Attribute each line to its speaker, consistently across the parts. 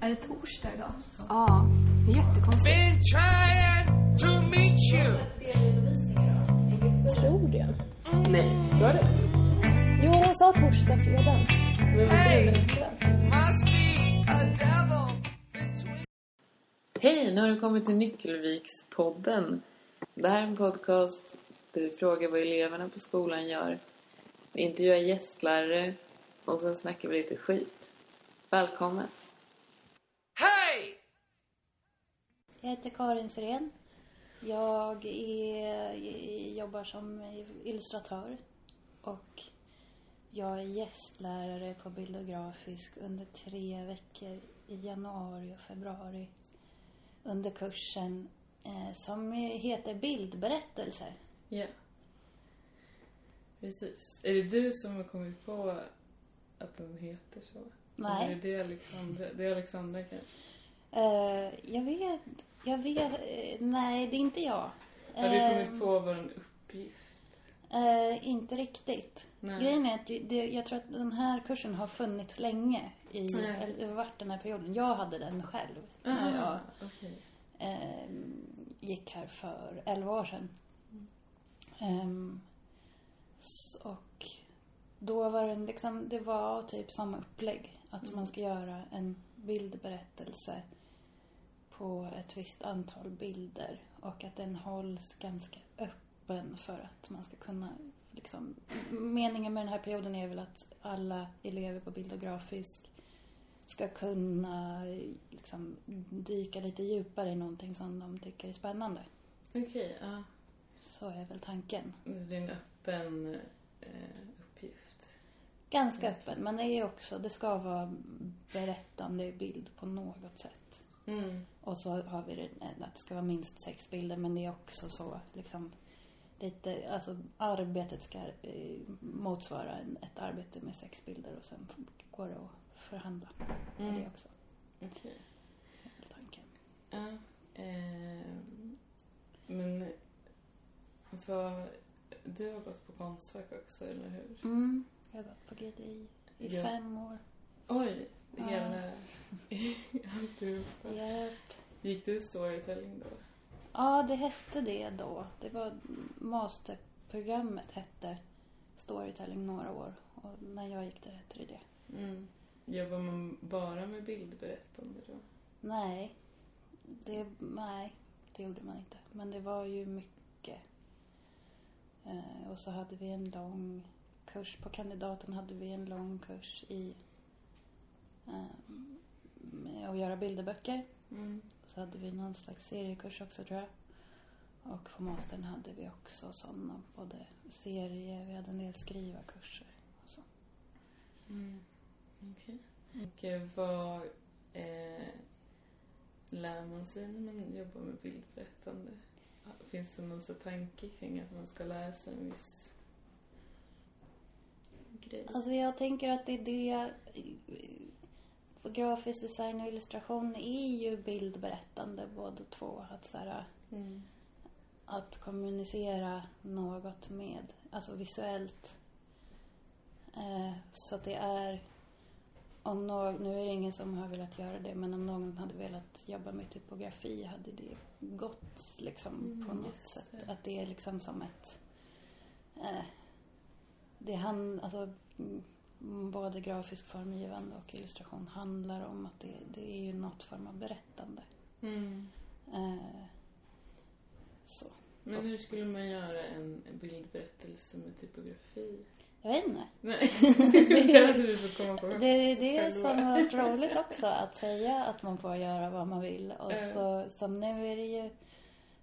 Speaker 1: Är det torsdag idag?
Speaker 2: Ja, det är jättekonstigt.
Speaker 3: Been trying to meet you.
Speaker 4: Tror det. Nej. Ska det? Jo, hon sa torsdag, fredag. Men
Speaker 3: Hey, must be a devil between.
Speaker 5: Hej, nu har du kommit till Nyckelvikspodden. Det här är en podcast där vi frågar vad eleverna på skolan gör. Vi intervjuar gästlärare och sen snackar vi lite skit. Välkommen!
Speaker 3: Hey,
Speaker 6: Jag heter Karin Syrén. Jag är, jobbar som illustratör och jag är gästlärare på Bildografisk under tre veckor i januari och februari under kursen eh, som heter Bildberättelser.
Speaker 5: Ja. Precis. Är det du som har kommit på att den heter så?
Speaker 6: Nej.
Speaker 5: Eller Är det, Alexandra? det är Alexandra kanske?
Speaker 6: Eh, jag vet, jag vet, eh, nej det är inte jag.
Speaker 5: Har du
Speaker 6: Eh,
Speaker 5: kommit på vad en uppgift?
Speaker 6: Eh, inte riktigt.
Speaker 5: Nej.
Speaker 6: Grejen är att det- det, jag tror att den här kursen har funnits länge. I,
Speaker 5: Nej.
Speaker 6: eller det har varit den här perioden. Jag hade den själv när jag
Speaker 5: Aha, okej.
Speaker 6: eh, gick här för 11 år sedan. Ehm, s- och då var det liksom, det var typ samma upplägg. Att man ska göra en bildberättelse på ett visst antal bilder och att den hålls ganska öppen för att man ska kunna liksom, meningen med den här perioden är väl att alla elever på bild och grafisk ska kunna eh, liksom, dyka lite djupare i någonting som de tycker är spännande.
Speaker 5: Okej, ja.
Speaker 6: Så är väl tanken.
Speaker 5: Så det är en öppen eh, uppgift.
Speaker 6: Ganska öppen, men det är också, det ska vara berättande i bild på något sätt.
Speaker 5: Mm.
Speaker 6: Och så har vi det, eh, att det ska vara minst sex bilder, men det är också så liksom lite, alltså arbetet ska eh, motsvara en, ett arbete med sex bilder och sen går det att förhandla med
Speaker 5: Mm.
Speaker 6: det också.
Speaker 5: Okej.
Speaker 6: är väl Tanken.
Speaker 5: Ja. ehm, men vad... Du har gått på Konstfack också, eller hur?
Speaker 6: Mm, jag har gått på GDI i
Speaker 5: Ja.
Speaker 6: fem år.
Speaker 5: Oj!
Speaker 6: Ja.
Speaker 5: Hela... Alltihopa.
Speaker 6: Jag,
Speaker 5: Gick du storytelling då?
Speaker 6: ja, det hette det då. Det var masterprogrammet hette Storytelling några år och när jag gick där hette det det.
Speaker 5: Mm. Jobbar man bara med bildberättande då?
Speaker 6: Nej. Det, nej, det gjorde man inte. Men det var ju mycket. Eh, och så hade vi en lång kurs. På kandidaten hade vi en lång kurs i eh, med att göra bilderböcker.
Speaker 5: Mm.
Speaker 6: Så hade vi någon slags seriekurs också tror jag. Och på mastern hade vi också sådana, både serier, vi hade en del skrivarkurser. Och så.
Speaker 5: Okej. Och vad eh, lär man sig när man jobbar med bildberättande? Finns det någon så tanke kring att man ska lära sig en viss grej?
Speaker 6: Alltså jag tänker att det är det... För grafisk design och illustration är ju bildberättande båda två. Att, så här,
Speaker 5: Mm.
Speaker 6: att kommunicera något med, alltså visuellt. Eh, så att det är... Om no- nu är det ingen som har velat göra det, men om någon hade velat jobba med typografi hade det gått liksom
Speaker 5: Mm,
Speaker 6: på något
Speaker 5: just
Speaker 6: sätt.
Speaker 5: det.
Speaker 6: Att det är liksom som ett... Eh, det han, alltså, mm, både grafisk formgivande och illustration handlar om att det, det är ju något form av berättande.
Speaker 5: Mm.
Speaker 6: Eh, så.
Speaker 5: Men hur skulle man göra en en bildberättelse med typografi?
Speaker 6: Jag vet inte.
Speaker 5: Nej, det hade vi fått komma på.
Speaker 6: Det är det
Speaker 5: Själva.
Speaker 6: som har varit roligt också, att säga att man får göra vad man vill. Och
Speaker 5: Mm.
Speaker 6: så, som nu är det ju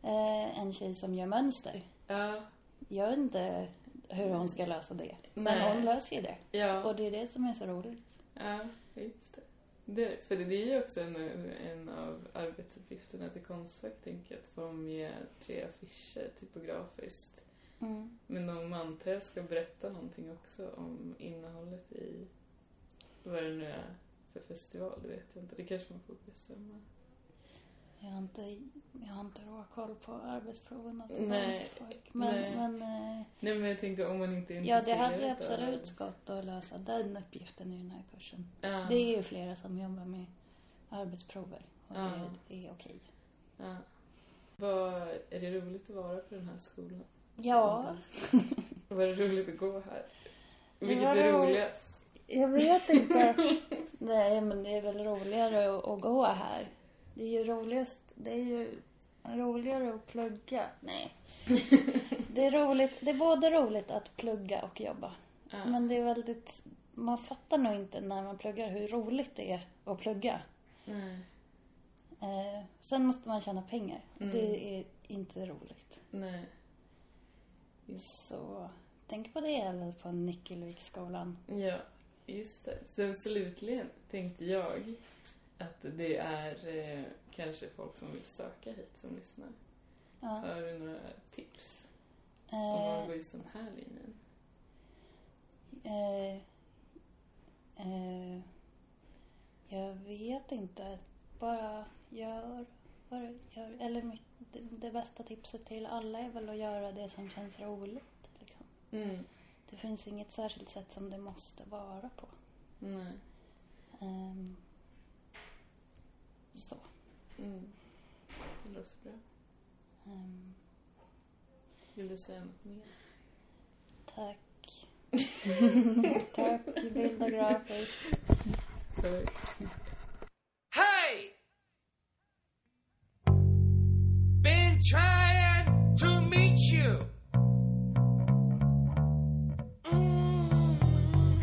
Speaker 6: eh, en tjej som gör mönster.
Speaker 5: Ja,
Speaker 6: Jag vet inte hur hon ska lösa det. Men
Speaker 5: Nej.
Speaker 6: hon löser ju det.
Speaker 5: ja,
Speaker 6: Och det är det som är så roligt.
Speaker 5: ja, just det. det. För det är ju också en, en av arbetsuppgifterna till Konstfack, tänker jag, att formge tre affischer typografiskt.
Speaker 6: Mm.
Speaker 5: Men de antar jag ska berätta någonting också om innehållet i vad det nu är för festival, det vet jag inte. Det kanske man får bestämma.
Speaker 6: Jag, har inte, jag har inte råkoll på arbetsproven och
Speaker 5: Nej.
Speaker 6: konstfolk. Men,
Speaker 5: Nej.
Speaker 6: men eh,
Speaker 5: Nej men jag tänker om man inte är
Speaker 6: ja, det
Speaker 5: intresserad
Speaker 6: hade
Speaker 5: av-
Speaker 6: absolut gått att lösa den uppgiften i den här kursen.
Speaker 5: Ja.
Speaker 6: Det är ju flera som jobbar med arbetsprover. Och
Speaker 5: Ja.
Speaker 6: det är okej.
Speaker 5: Ja. Vad, är det roligt att vara på den här skolan?
Speaker 6: Ja,
Speaker 5: Var det roligt att gå här?
Speaker 6: Det
Speaker 5: Vilket
Speaker 6: var
Speaker 5: är
Speaker 6: roligt.
Speaker 5: roligast?
Speaker 6: jag vet inte. Nej, men det är väl roligare att, att gå här. Det är ju roligast... Det är ju roligare att plugga. Nej. Det är roligt. Det är både roligt att plugga och jobba.
Speaker 5: Ja.
Speaker 6: Men det är väldigt... Man fattar nog inte när man pluggar hur roligt det är att plugga.
Speaker 5: Nej.
Speaker 6: Eh, sen måste man tjäna pengar. Det är inte roligt.
Speaker 5: Nej.
Speaker 6: Så tänk på det eller på Nyckelviksskolan.
Speaker 5: Ja, just det. Sen slutligen tänkte jag att det är eh, kanske folk som vill söka hit som lyssnar.
Speaker 6: Ja.
Speaker 5: Har du några tips? Om man
Speaker 6: Eh,
Speaker 5: går just den här linjen?
Speaker 6: eh, eh, jag vet inte. Bara gör vad du gör. Eller mitt, det, det bästa tipset till alla är väl att göra det som känns roligt. Liksom.
Speaker 5: Mm.
Speaker 6: Det finns inget särskilt sätt som det måste vara på.
Speaker 5: Nej.
Speaker 6: Ehm, så.
Speaker 5: Mm. Det låter bra.
Speaker 6: Ehm,
Speaker 5: Vill du säga något mer?
Speaker 6: Tack. Tack, bild och grafiskt.
Speaker 5: För...
Speaker 3: Hey! Been trying to meet you. Mm.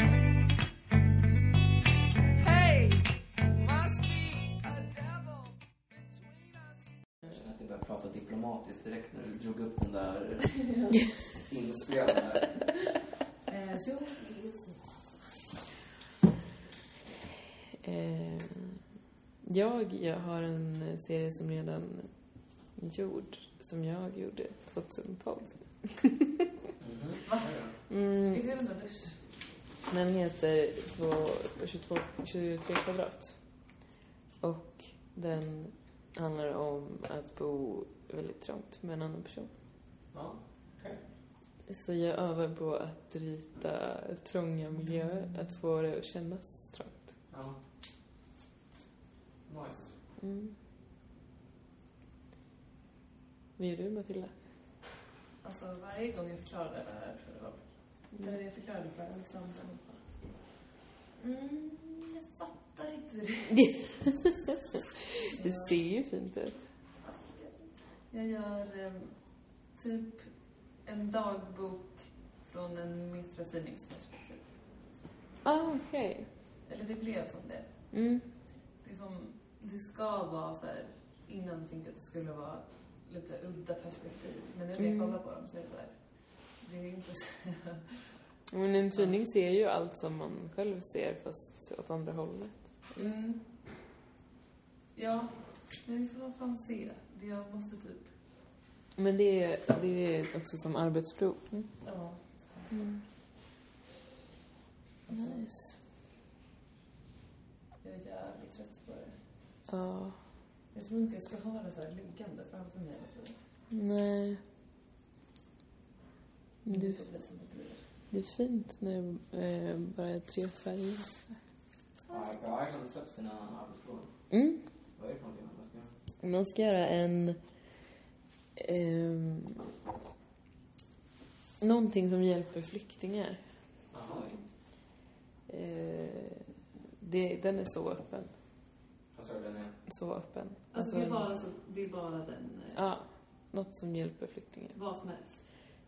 Speaker 3: Mm-hmm. Hey! Must be a devil between us.
Speaker 7: Jag känner att jag börjar prata diplomatiskt direkt när du drog upp den där inspelningen. där.
Speaker 5: Eh, jag, jag har en serie som redan är gjord, som jag gjorde 2012.
Speaker 7: Mhm.
Speaker 5: Mm,
Speaker 4: Är det den där dusch?
Speaker 5: Den heter 22, 22, 23 kvadrat. Och den handlar om att bo väldigt trångt med en annan person.
Speaker 7: Ja, okej.
Speaker 5: Så jag övar på att rita trånga miljöer, att få det att kännas trångt.
Speaker 7: Ja. Nice.
Speaker 5: Mm. Vad gör du, Matilda?
Speaker 4: Alltså varje gång jag förklarade det här, tror jag det var. Eller jag förklarade för Alexander. han bara, Mm, jag fattar inte det.
Speaker 5: Det ser ju fint ut.
Speaker 4: Jag gör eh, typ en dagbok från en metratidningsperspektiv.
Speaker 5: Ah, okej.
Speaker 4: Eller det blev som det.
Speaker 5: Mm.
Speaker 4: liksom, det ska vara så här, innan tänkte jag att det skulle vara lite udda perspektiv. Men när jag
Speaker 5: Mm.
Speaker 4: kollar på dem så är det så här, det är inte så
Speaker 5: Men en tidning ser ju allt som man själv ser, fast åt andra hållet.
Speaker 4: mm. Ja, men vi får fan se. Det- Jag måste typ,
Speaker 5: Men det är, det är också som arbetsprov.
Speaker 4: ja.
Speaker 5: Nice.
Speaker 4: alltså. Jag är jävligt trött på det.
Speaker 5: Ja.
Speaker 4: Jag tror inte jag ska ha det så här liggande framför mig hela tiden.
Speaker 5: Nej.
Speaker 4: Det
Speaker 5: Det,
Speaker 4: får bli som det blir.
Speaker 5: det är fint när det eh, bara är tre färger.
Speaker 7: Ica Island har släppt sina arbetsprov.
Speaker 5: Mm.
Speaker 7: Vad är det för någonting man ska göra?
Speaker 5: Man ska göra en... ehm, någonting som hjälper flyktingar.
Speaker 7: Jaha.
Speaker 5: Eh, det, den är så öppen.
Speaker 7: Vad sa du? Den är...
Speaker 5: Så öppen.
Speaker 4: Alltså det är
Speaker 5: en-
Speaker 4: bara, så, det är bara den, eh,
Speaker 5: Ja, något som hjälper flyktingar.
Speaker 4: vad som helst.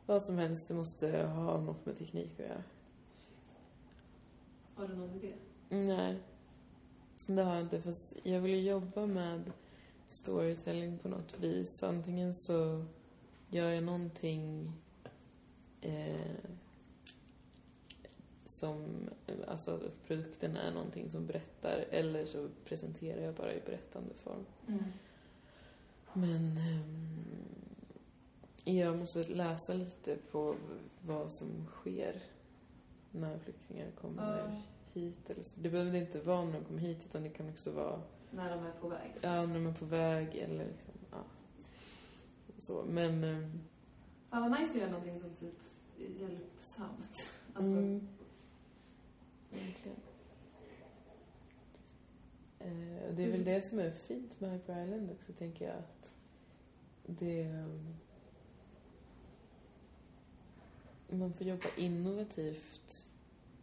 Speaker 5: Vad som helst, det måste ha något med teknik att göra.
Speaker 4: Har du någon idé?
Speaker 5: Nej, det har jag inte. Fast jag vill ju jobba med storytelling på något vis. Antingen så gör jag någonting eh, som, alltså att produkten är någonting som berättar eller så presenterar jag bara i berättande form.
Speaker 4: Mm.
Speaker 5: Men ehm, jag måste läsa lite på vad som sker när flyktingar kommer
Speaker 4: Ja.
Speaker 5: hit. Eller så. Det behöver inte vara när de kommer hit utan det kan också vara
Speaker 4: När de är på väg.
Speaker 5: ja, när de är på väg eller liksom, ja. så. Men ehm,
Speaker 4: Fan vad nice att göra någonting som typ är hjälpsamt. Alltså,
Speaker 5: Mm. Verkligen. Eh,
Speaker 4: Mm.
Speaker 5: det är väl det som är fint med Hyper Island också, tänker jag. Att det... ehm, Man får jobba innovativt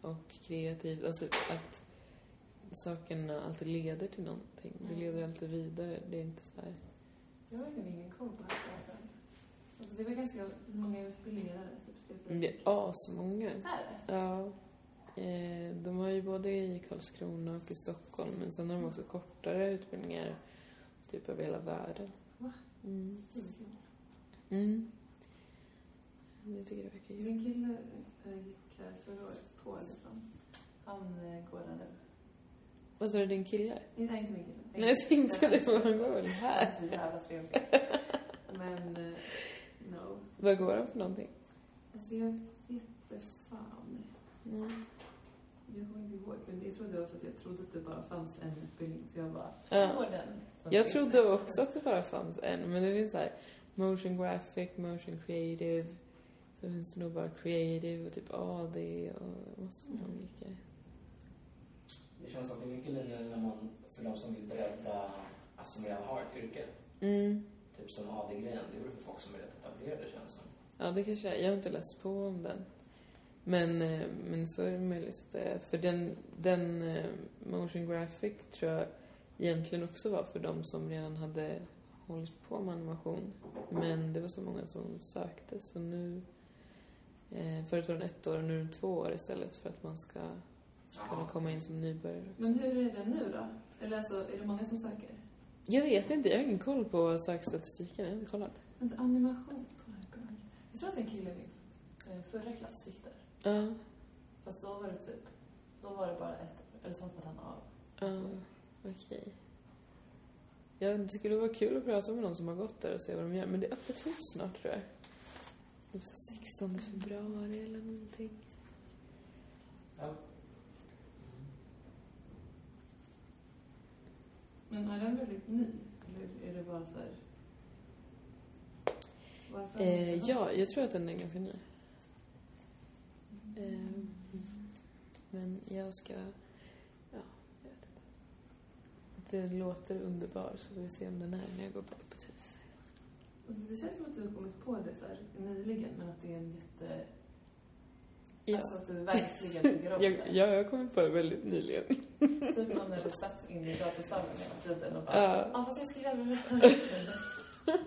Speaker 5: och kreativt. Alltså att sakerna alltid leder till någonting. Det
Speaker 4: Mm.
Speaker 5: leder alltid vidare. Det är inte så här...
Speaker 4: Jag har nog ingen koll på det här. Alltså, det var ganska många utbildningar typ, ska jag säga.
Speaker 5: Det är asmånga.
Speaker 4: Här är det.
Speaker 5: Ja. Eh, De har ju både i Karlskrona och i Stockholm, men sen har de också kortare utbildningar typ över hela världen.
Speaker 4: Va?
Speaker 5: Mm.
Speaker 4: Det är kul.
Speaker 5: Mm. Jag tycker det verkar ju...
Speaker 4: Min kille eh, gick här förra året, på liksom. Han eh, går där nu.
Speaker 5: Vad sa du, din kille?
Speaker 4: Nej, inte min kille.
Speaker 5: Nej, jag tänkte det, var han går väl
Speaker 4: Han är
Speaker 5: här?
Speaker 4: så jävla trevlig. Men, eh, no.
Speaker 5: Vad går han för någonting?
Speaker 4: Alltså jag vet inte fan.
Speaker 5: Mm.
Speaker 4: Jag kommer inte ihåg. Men jag tror det var för att jag trodde att det bara fanns en utbildning. Så jag bara,
Speaker 5: Ja.
Speaker 4: jag går den. Så
Speaker 5: Jag
Speaker 4: det-
Speaker 5: trodde också att det bara fanns en, men det finns så här motion graphic, motion creative, så finns det nog bara creative och typ AD och massa
Speaker 4: Mm.
Speaker 5: olika.
Speaker 7: Det känns som att det är mycket nu när man, för de som vill bredda, alltså som redan har ett yrke,
Speaker 5: Mm.
Speaker 7: typ som AD-grejen, det är väl för folk som är rätt etablerade känns som.
Speaker 5: Ja, det kanske är. Jag har inte läst på om den. Men, eh, men så är det möjligt att det är. För den, den eh, motion graphic tror jag egentligen också var för de som redan hade hållit på med animation. Men det var så många som sökte så nu... Eh, förut var den ett år och nu är den två år istället för att man ska kunna
Speaker 7: Jaha.
Speaker 5: komma in som nybörjare. också.
Speaker 4: Men hur är det nu då? Eller alltså, är det många som söker?
Speaker 5: Jag vet inte, jag har ingen koll på sökstatistiken. Jag har inte kollat.
Speaker 4: Vänta, animation på Hyperbank. Jag tror att en kille i min eh, förra klass gick där.
Speaker 5: Ja,
Speaker 4: Fast då var det typ, då var det bara ett år. Eller så hoppade han av.
Speaker 5: ja, okej. Jag tycker det var kul att prata med någon som har gått där och se vad de gör. Men det är öppet hus snart tror jag. Typ så 16 februari eller någonting.
Speaker 7: Ja.
Speaker 4: Men är den väldigt ny? Eller är det bara så här... Varför?
Speaker 5: Eh, ja, jag tror att den är ganska ny. Eh, men jag ska... Ja, jag vet inte. Det låter underbar så får vi se om den är när jag går på öppet hus.
Speaker 4: Alltså, det känns som att du har kommit på det så här nyligen, men att det är en jätte...
Speaker 5: Ja.
Speaker 4: Alltså att du verkligen tycker om
Speaker 5: Jag,
Speaker 4: det.
Speaker 5: ja, jag kom på det väldigt nyligen.
Speaker 4: Typ som när du satt inne i datorsalongen hela tiden och bara... Ja,
Speaker 5: Ja.
Speaker 4: ah, fast jag skulle gärna vilja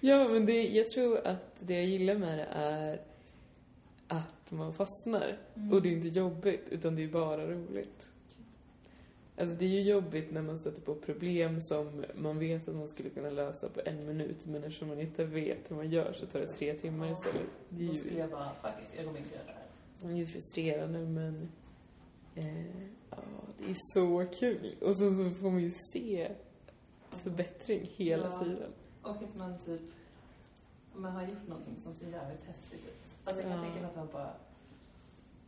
Speaker 5: Ja, men det, jag tror att det jag gillar med det är att man fastnar.
Speaker 4: Mm.
Speaker 5: Och det är inte jobbigt, utan det är bara roligt. Alltså det är ju jobbigt när man stöter på problem som man vet att man skulle kunna lösa på en minut, men eftersom man inte vet hur man gör så tar det tre timmar istället. Det är
Speaker 4: Mm. Då skulle
Speaker 5: ju,
Speaker 4: jag bara, fuck it, jag kommer inte göra det här.
Speaker 5: det är ju frustrerande, men eh, ja, det är så kul. Och sen så får man ju se förbättring hela
Speaker 4: Ja.
Speaker 5: tiden.
Speaker 4: Och att man typ man har gjort någonting som ser jävligt häftigt ut. Alltså jag kan
Speaker 5: Ja.
Speaker 4: tänka mig att man bara...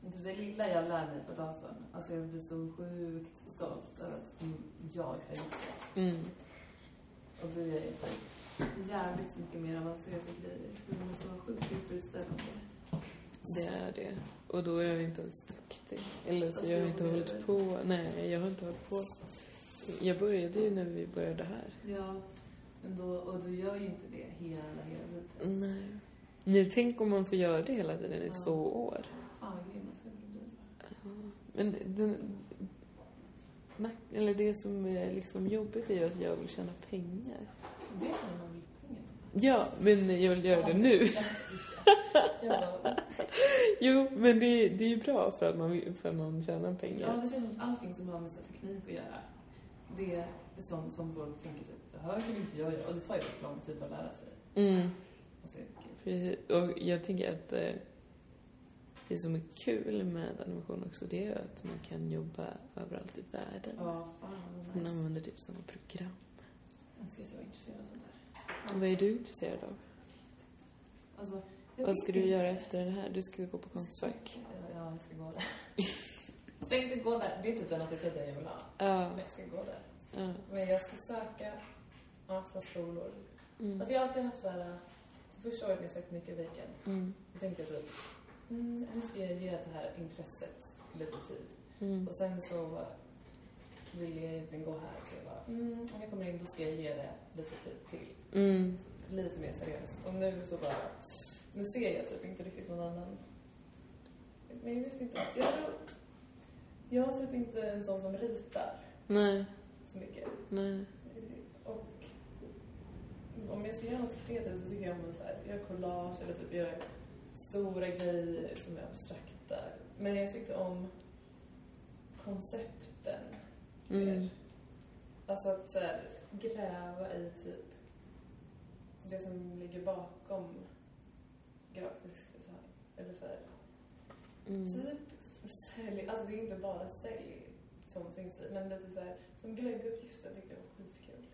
Speaker 4: inte Det lilla jag lär mig på datorn. Alltså jag blir så sjukt stolt över att mm, jag har gjort det.
Speaker 5: Mm.
Speaker 4: Och du är typ jävligt mycket mer avancerade grejer. Så det måste vara sjukt tillfredsställande.
Speaker 5: Det är det. Och då är jag inte ens duktig. Eller så
Speaker 4: Alltså,
Speaker 5: jag har
Speaker 4: jag
Speaker 5: inte
Speaker 4: började-
Speaker 5: hållit på. Nej, jag har inte hållit på. så. Så jag började ju när vi började här.
Speaker 4: Ja. Men då, och du gör ju inte det hela, hela tiden.
Speaker 5: Nej. Men tänk om man får göra det hela tiden i
Speaker 4: Ja.
Speaker 5: två år.
Speaker 4: Fan vad grym man skulle bli.
Speaker 5: Men den, nack- eller det som är liksom jobbigt är ju att jag vill tjäna pengar.
Speaker 4: Det känner man väl pengar på?
Speaker 5: Ja, men jag vill göra det nu.
Speaker 4: Ja, just det. Jag bara,
Speaker 5: Jo, men det, det är ju bra för att man, vill- för att man tjänar
Speaker 4: Ja,
Speaker 5: pengar.
Speaker 4: det känns som att allting som har med så här teknik att göra, det är sånt som folk tänker typ, det här kan inte jag göra. Och det tar ju väldigt lång tid att lära sig. Alltså,
Speaker 5: Mm.
Speaker 4: Och så är det kul.
Speaker 5: Precis. Och jag tänker att eh, det som är kul med animation också det är ju att man kan jobba överallt i världen.
Speaker 4: Ja, fan vad
Speaker 5: Man
Speaker 4: nice.
Speaker 5: använder typ samma program.
Speaker 4: Jag önskar att jag var intresserad av sånt där.
Speaker 5: Vad är du intresserad av?
Speaker 4: Alltså, jag
Speaker 5: Vad
Speaker 4: vet
Speaker 5: ska du
Speaker 4: inte.
Speaker 5: göra efter det här? Du ska gå på
Speaker 4: Jag ska
Speaker 5: konstverk.
Speaker 4: söka. Ja, jag ska gå där. jag tänkte gå där. Det är typ den attityden jag vill ha.
Speaker 5: Ja.
Speaker 4: Men jag ska gå där.
Speaker 5: ja.
Speaker 4: Men jag ska söka massa skolor.
Speaker 5: Mm.
Speaker 4: Alltså jag har alltid haft så här, till första året när jag sökte Nyckelviken,
Speaker 5: Mm.
Speaker 4: då tänkte jag typ, mm, nu ska jag ge det här intresset lite tid.
Speaker 5: Mm.
Speaker 4: Och sen så vill jag egentligen gå här? Så jag bara, mm, om jag kommer in då ska jag ge det lite tid till.
Speaker 5: Mm.
Speaker 4: Lite mer seriöst. Och nu så bara, nu ser jag typ inte riktigt någon annan. Men jag vet inte. Jag, tror- jag är typ inte en sån som ritar
Speaker 5: Nej,
Speaker 4: så mycket.
Speaker 5: nej.
Speaker 4: Och om jag ska göra något kreativt så tycker jag om att så här, göra collage eller typ göra stora grejer som är abstrakta. Men jag tycker om koncepten mer.
Speaker 5: Mm.
Speaker 4: Alltså att så här, gräva i typ det som ligger bakom grafisk design. Eller så här,
Speaker 5: Mm.
Speaker 4: Typ sälj, alltså det är inte bara sälj som finns i, men lite så här, som glögguppgiften tyckte jag var skitkul.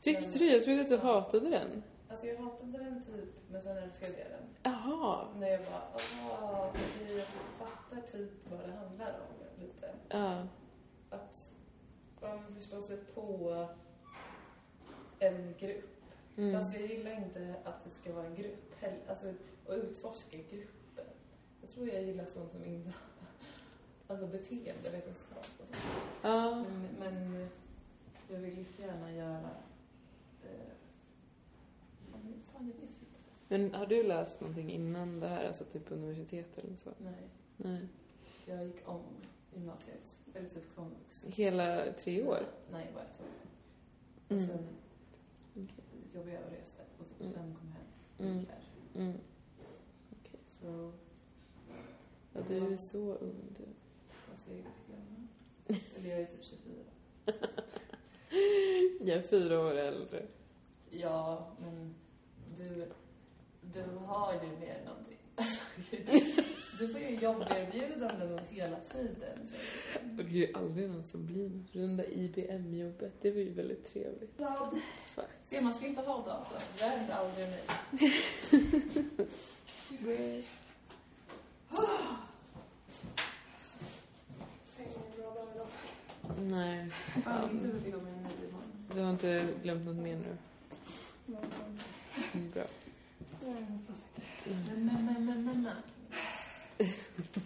Speaker 5: Tyckte du? Jag trodde att du hatade den.
Speaker 4: Alltså jag hatade den typ, men sen älskade jag den.
Speaker 5: Jaha.
Speaker 4: När jag bara, ah, okej, jag typ fattar typ vad det handlar om lite.
Speaker 5: Ja.
Speaker 4: Att ja, men förstå sig på en grupp.
Speaker 5: Mm.
Speaker 4: Fast jag gillar inte att det ska vara en grupp heller. Alltså, och utforska gruppen. Jag tror jag gillar sånt som inte... Alltså beteendevetenskap och sånt.
Speaker 5: Ja.
Speaker 4: Men, men jag vill jättegärna göra... Eh, ja, men fan, jag vet inte.
Speaker 5: Men har du läst någonting innan det här? Alltså typ universitet eller så?
Speaker 4: Nej,
Speaker 5: Nej.
Speaker 4: jag gick om gymnasiet. Eller typ komvux.
Speaker 5: Hela tre år?
Speaker 4: Nej, bara ett år. Och
Speaker 5: Mm.
Speaker 4: sen
Speaker 5: Okej.
Speaker 4: jobbade jag och reste. Och typ
Speaker 5: Mm.
Speaker 4: sen kom jag hem och
Speaker 5: Mm.
Speaker 4: gick här.
Speaker 5: Mm.
Speaker 4: Så,
Speaker 5: Ja, du är så ung du.
Speaker 4: alltså jag är ganska gammal. Eller jag är typ 24.
Speaker 5: Jag är fyra år äldre.
Speaker 4: Ja, men du, du har ju mer någonting. Alltså, du får ju jobberbjudanden hela tiden. känns det som.
Speaker 5: Och det är ju aldrig någon som blir något. För den där IBM-jobbet, det var ju väldigt trevligt.
Speaker 4: Se, man ska inte ha datorn. Vänd aldrig mig.
Speaker 5: Nej,
Speaker 4: Fan, tur det går med en ny imorgon.
Speaker 5: du har inte glömt något mer nu? Mm, Bra.
Speaker 4: Men, men, men, men, men, men.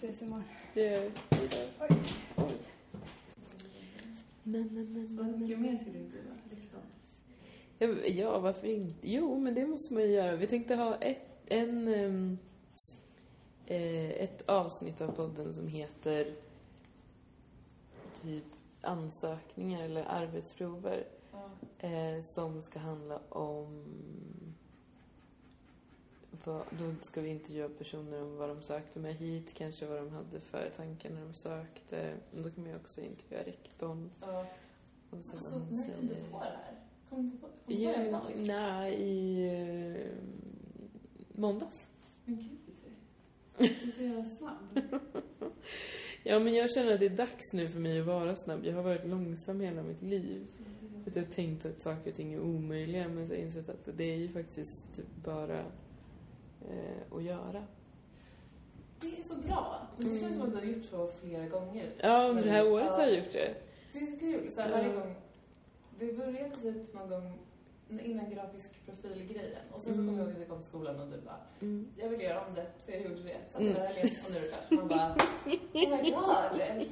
Speaker 8: Ses imorgon.
Speaker 5: Yeah. Men, men, men,
Speaker 4: Så
Speaker 5: men,
Speaker 4: mycket
Speaker 5: men.
Speaker 4: mer skulle det inte vara. Liksom.
Speaker 5: Ja, Ja, varför inte? Jo, men det måste man ju göra. Vi tänkte ha ett, en, ehm, eh, ett avsnitt av podden som heter typ ansökningar eller arbetsprover
Speaker 4: Ja.
Speaker 5: eh, som ska handla om vad, då ska vi intervjua personer om vad de sökte med hit, kanske vad de hade för tankar när de sökte. Men då kan man ju också intervjua rektorn.
Speaker 4: Ja.
Speaker 5: Och sen
Speaker 4: Alltså,
Speaker 5: vad han
Speaker 4: när kom du
Speaker 5: säger.
Speaker 4: på det här? Kom du på kom du på det
Speaker 5: Ja,
Speaker 4: idag?
Speaker 5: nej, i eh, måndags.
Speaker 4: Men gud. Du är så jävla snabb.
Speaker 5: Ja, men jag känner att det är dags nu för mig att vara snabb. Jag har varit långsam hela mitt liv. Att jag har tänkt att saker och ting är omöjliga, men så har jag insett att det är ju faktiskt typ bara eh, att göra.
Speaker 4: Det är så bra. Men det
Speaker 5: Mm.
Speaker 4: känns som att du har gjort så flera gånger.
Speaker 5: Ja, under det här
Speaker 4: Men,
Speaker 5: året
Speaker 4: ja.
Speaker 5: har jag gjort det.
Speaker 4: Det är så kul. Så här, varje
Speaker 5: Ja.
Speaker 4: gång, det började typ någon gång innan grafisk profil-grejen. Och sen så
Speaker 5: Mm.
Speaker 4: kommer jag ihåg att jag kom till skolan och du bara,
Speaker 5: Mm.
Speaker 4: jag vill göra om det. Så jag gjorde det. Satt
Speaker 5: Mm.
Speaker 4: över helgen och nu är det klart. Man bara, oh my god.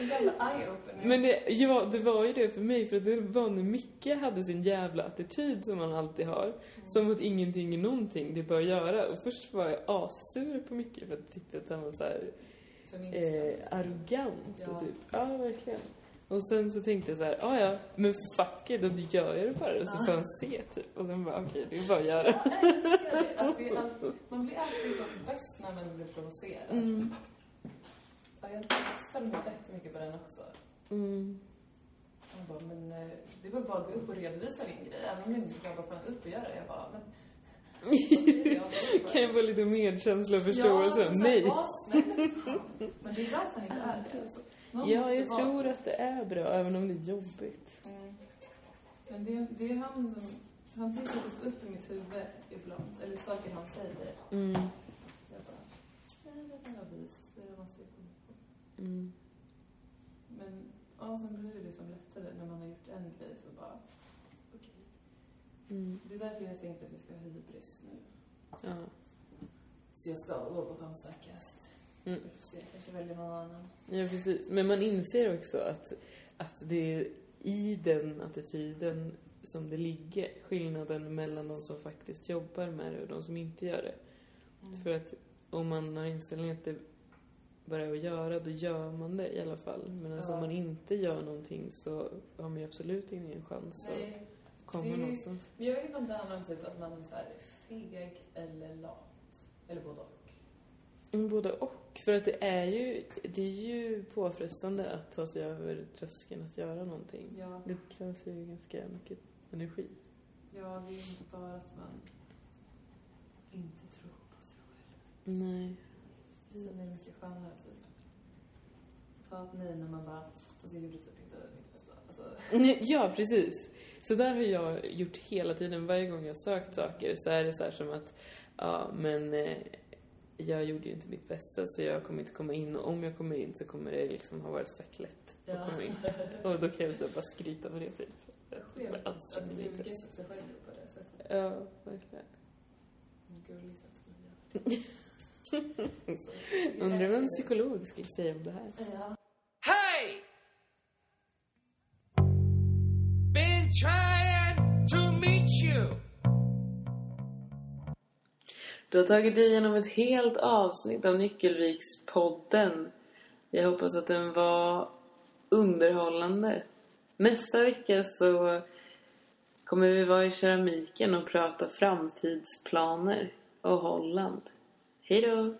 Speaker 4: En jävla eye-opener.
Speaker 5: Men det, ja, det var ju det för mig, för att det var när Micke hade sin jävla attityd som han alltid har. Som att ingenting är någonting, det är bara att göra. Och först var jag assur på Micke för att jag tyckte att han var så här
Speaker 4: För min skull.
Speaker 5: eh, arrogant
Speaker 4: Ja.
Speaker 5: och typ, ja verkligen. Och sen så tänkte jag så här, "Ah, ja ja, men fuck it, då gör jag det bara och så får han se typ. Och sen bara, okej, det är bara att göra.
Speaker 4: Jag älskar det. Alltså, det är all- man blir alltid så bäst när man blir provocerad.
Speaker 5: Mm.
Speaker 4: Ja, jag stämde mig jättemycket på den också.
Speaker 5: Mm.
Speaker 4: Han bara, men eh, det var bara att gå upp och redovisa din grej. Även om jag inte ska bara fan upp och göra det. Jag bara, men... okej, jag bara-
Speaker 5: Kan jag få lite medkänsla och förståelse?
Speaker 4: Ja, men så här,
Speaker 5: Nej.
Speaker 4: var snäll. Men det är bra att han inte är det. Alltså. Någon
Speaker 5: Ja,
Speaker 4: måste
Speaker 5: jag
Speaker 4: vara
Speaker 5: tror
Speaker 4: det.
Speaker 5: att det är bra, även om det är jobbigt.
Speaker 4: Mm. Men det, det är han som... Han tittar typ upp i mitt huvud ibland. Eller saker han säger.
Speaker 5: Mm.
Speaker 4: Jag bara, nej, det där var vist. Det där måste jag komma ihåg.
Speaker 5: Mm.
Speaker 4: Men ja, sen blir det liksom lättare när man har gjort en grej så bara, okej.
Speaker 5: Mm.
Speaker 4: Det är därför jag tänkte att jag ska ha hybris nu.
Speaker 5: Ja.
Speaker 4: Så jag ska gå på konstverkast.
Speaker 5: Mm.
Speaker 4: Vi får se, kanske väljer någon annan.
Speaker 5: Ja, precis. Men man inser också att, att det är i den attityden som det ligger skillnaden mellan de som faktiskt jobbar med det och de som inte gör det.
Speaker 4: Mm.
Speaker 5: För att om man har inställningen att det bara är att göra, då gör man det i alla fall. Men alltså,
Speaker 4: Ja.
Speaker 5: om man inte gör någonting så har man ju absolut ingen chans att
Speaker 4: Nej,
Speaker 5: komma
Speaker 4: det är ju-
Speaker 5: någonstans.
Speaker 4: men jag vet inte om det handlar om typ att man är så här feg eller lat. Eller både och.
Speaker 5: Mm, Både och. För att det är, ju, det är ju påfrestande att ta sig över tröskeln att göra någonting.
Speaker 4: Ja,
Speaker 5: Det krävs ju ganska mycket energi.
Speaker 4: ja det är inte bara att man inte tror på sig själv.
Speaker 5: Nej.
Speaker 4: Sen är det mycket skönare typ. Ta ett nej när man bara, alltså jag gjorde typ inte mitt bästa. Alltså,
Speaker 5: Ja, precis. Så där har jag gjort hela tiden. Varje gång jag har sökt saker så är det så här som att ja, men eh, jag gjorde ju inte mitt bästa så jag kommer inte komma in och om jag kommer in så kommer det liksom ha varit fett lätt
Speaker 4: Ja.
Speaker 5: att komma in. Och då kan jag så här bara skryta med det typ.
Speaker 4: Skevt
Speaker 5: Alltså,
Speaker 4: att ljuga för sig själv på det sättet.
Speaker 5: Ja, verkligen.
Speaker 4: Gulligt att man gör.
Speaker 5: Undrar vad en psykolog skulle säga om det här.
Speaker 4: Ja.
Speaker 3: Hey! Been trying to meet you.
Speaker 9: Du har tagit dig igenom ett helt avsnitt av Nyckelvikspodden. Jag hoppas att den var underhållande. Nästa vecka så kommer vi vara i keramiken och prata framtidsplaner och Holland. Hej då!